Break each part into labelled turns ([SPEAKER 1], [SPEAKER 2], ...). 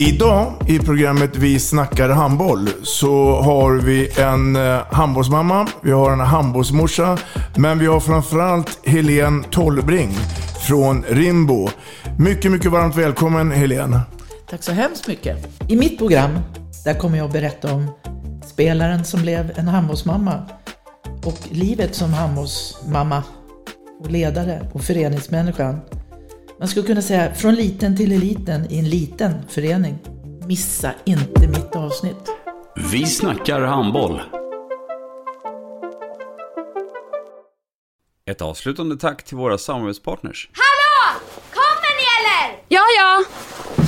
[SPEAKER 1] Idag i programmet Vi snackar handboll så har vi en eh, handbollsmamma, vi har en handbollsmorsa, men vi har framförallt Helen Tollbring från Rimbo. Mycket, mycket varmt välkommen Helen.
[SPEAKER 2] Tack så hemskt mycket. I mitt program, där kommer jag att berätta om spelaren som blev en handbollsmamma och livet som handbollsmamma och ledare och föreningsmänniskan. Man skulle kunna säga från liten till eliten i en liten förening. Missa inte mitt avsnitt.
[SPEAKER 3] Vi snackar handboll. Ett avslutande tack till våra samarbetspartners.
[SPEAKER 4] Hallå! Kommer ni eller?
[SPEAKER 5] Ja, ja.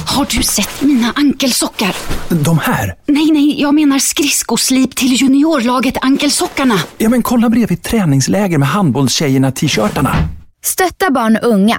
[SPEAKER 5] Har du sett mina ankelsockar?
[SPEAKER 6] De här?
[SPEAKER 5] Nej, nej, jag menar skridskoslip till juniorlaget Ankelsockarna.
[SPEAKER 6] Ja, men kolla bredvid träningsläger med handbollstjejerna-t-shirtarna.
[SPEAKER 7] Stötta barn och unga.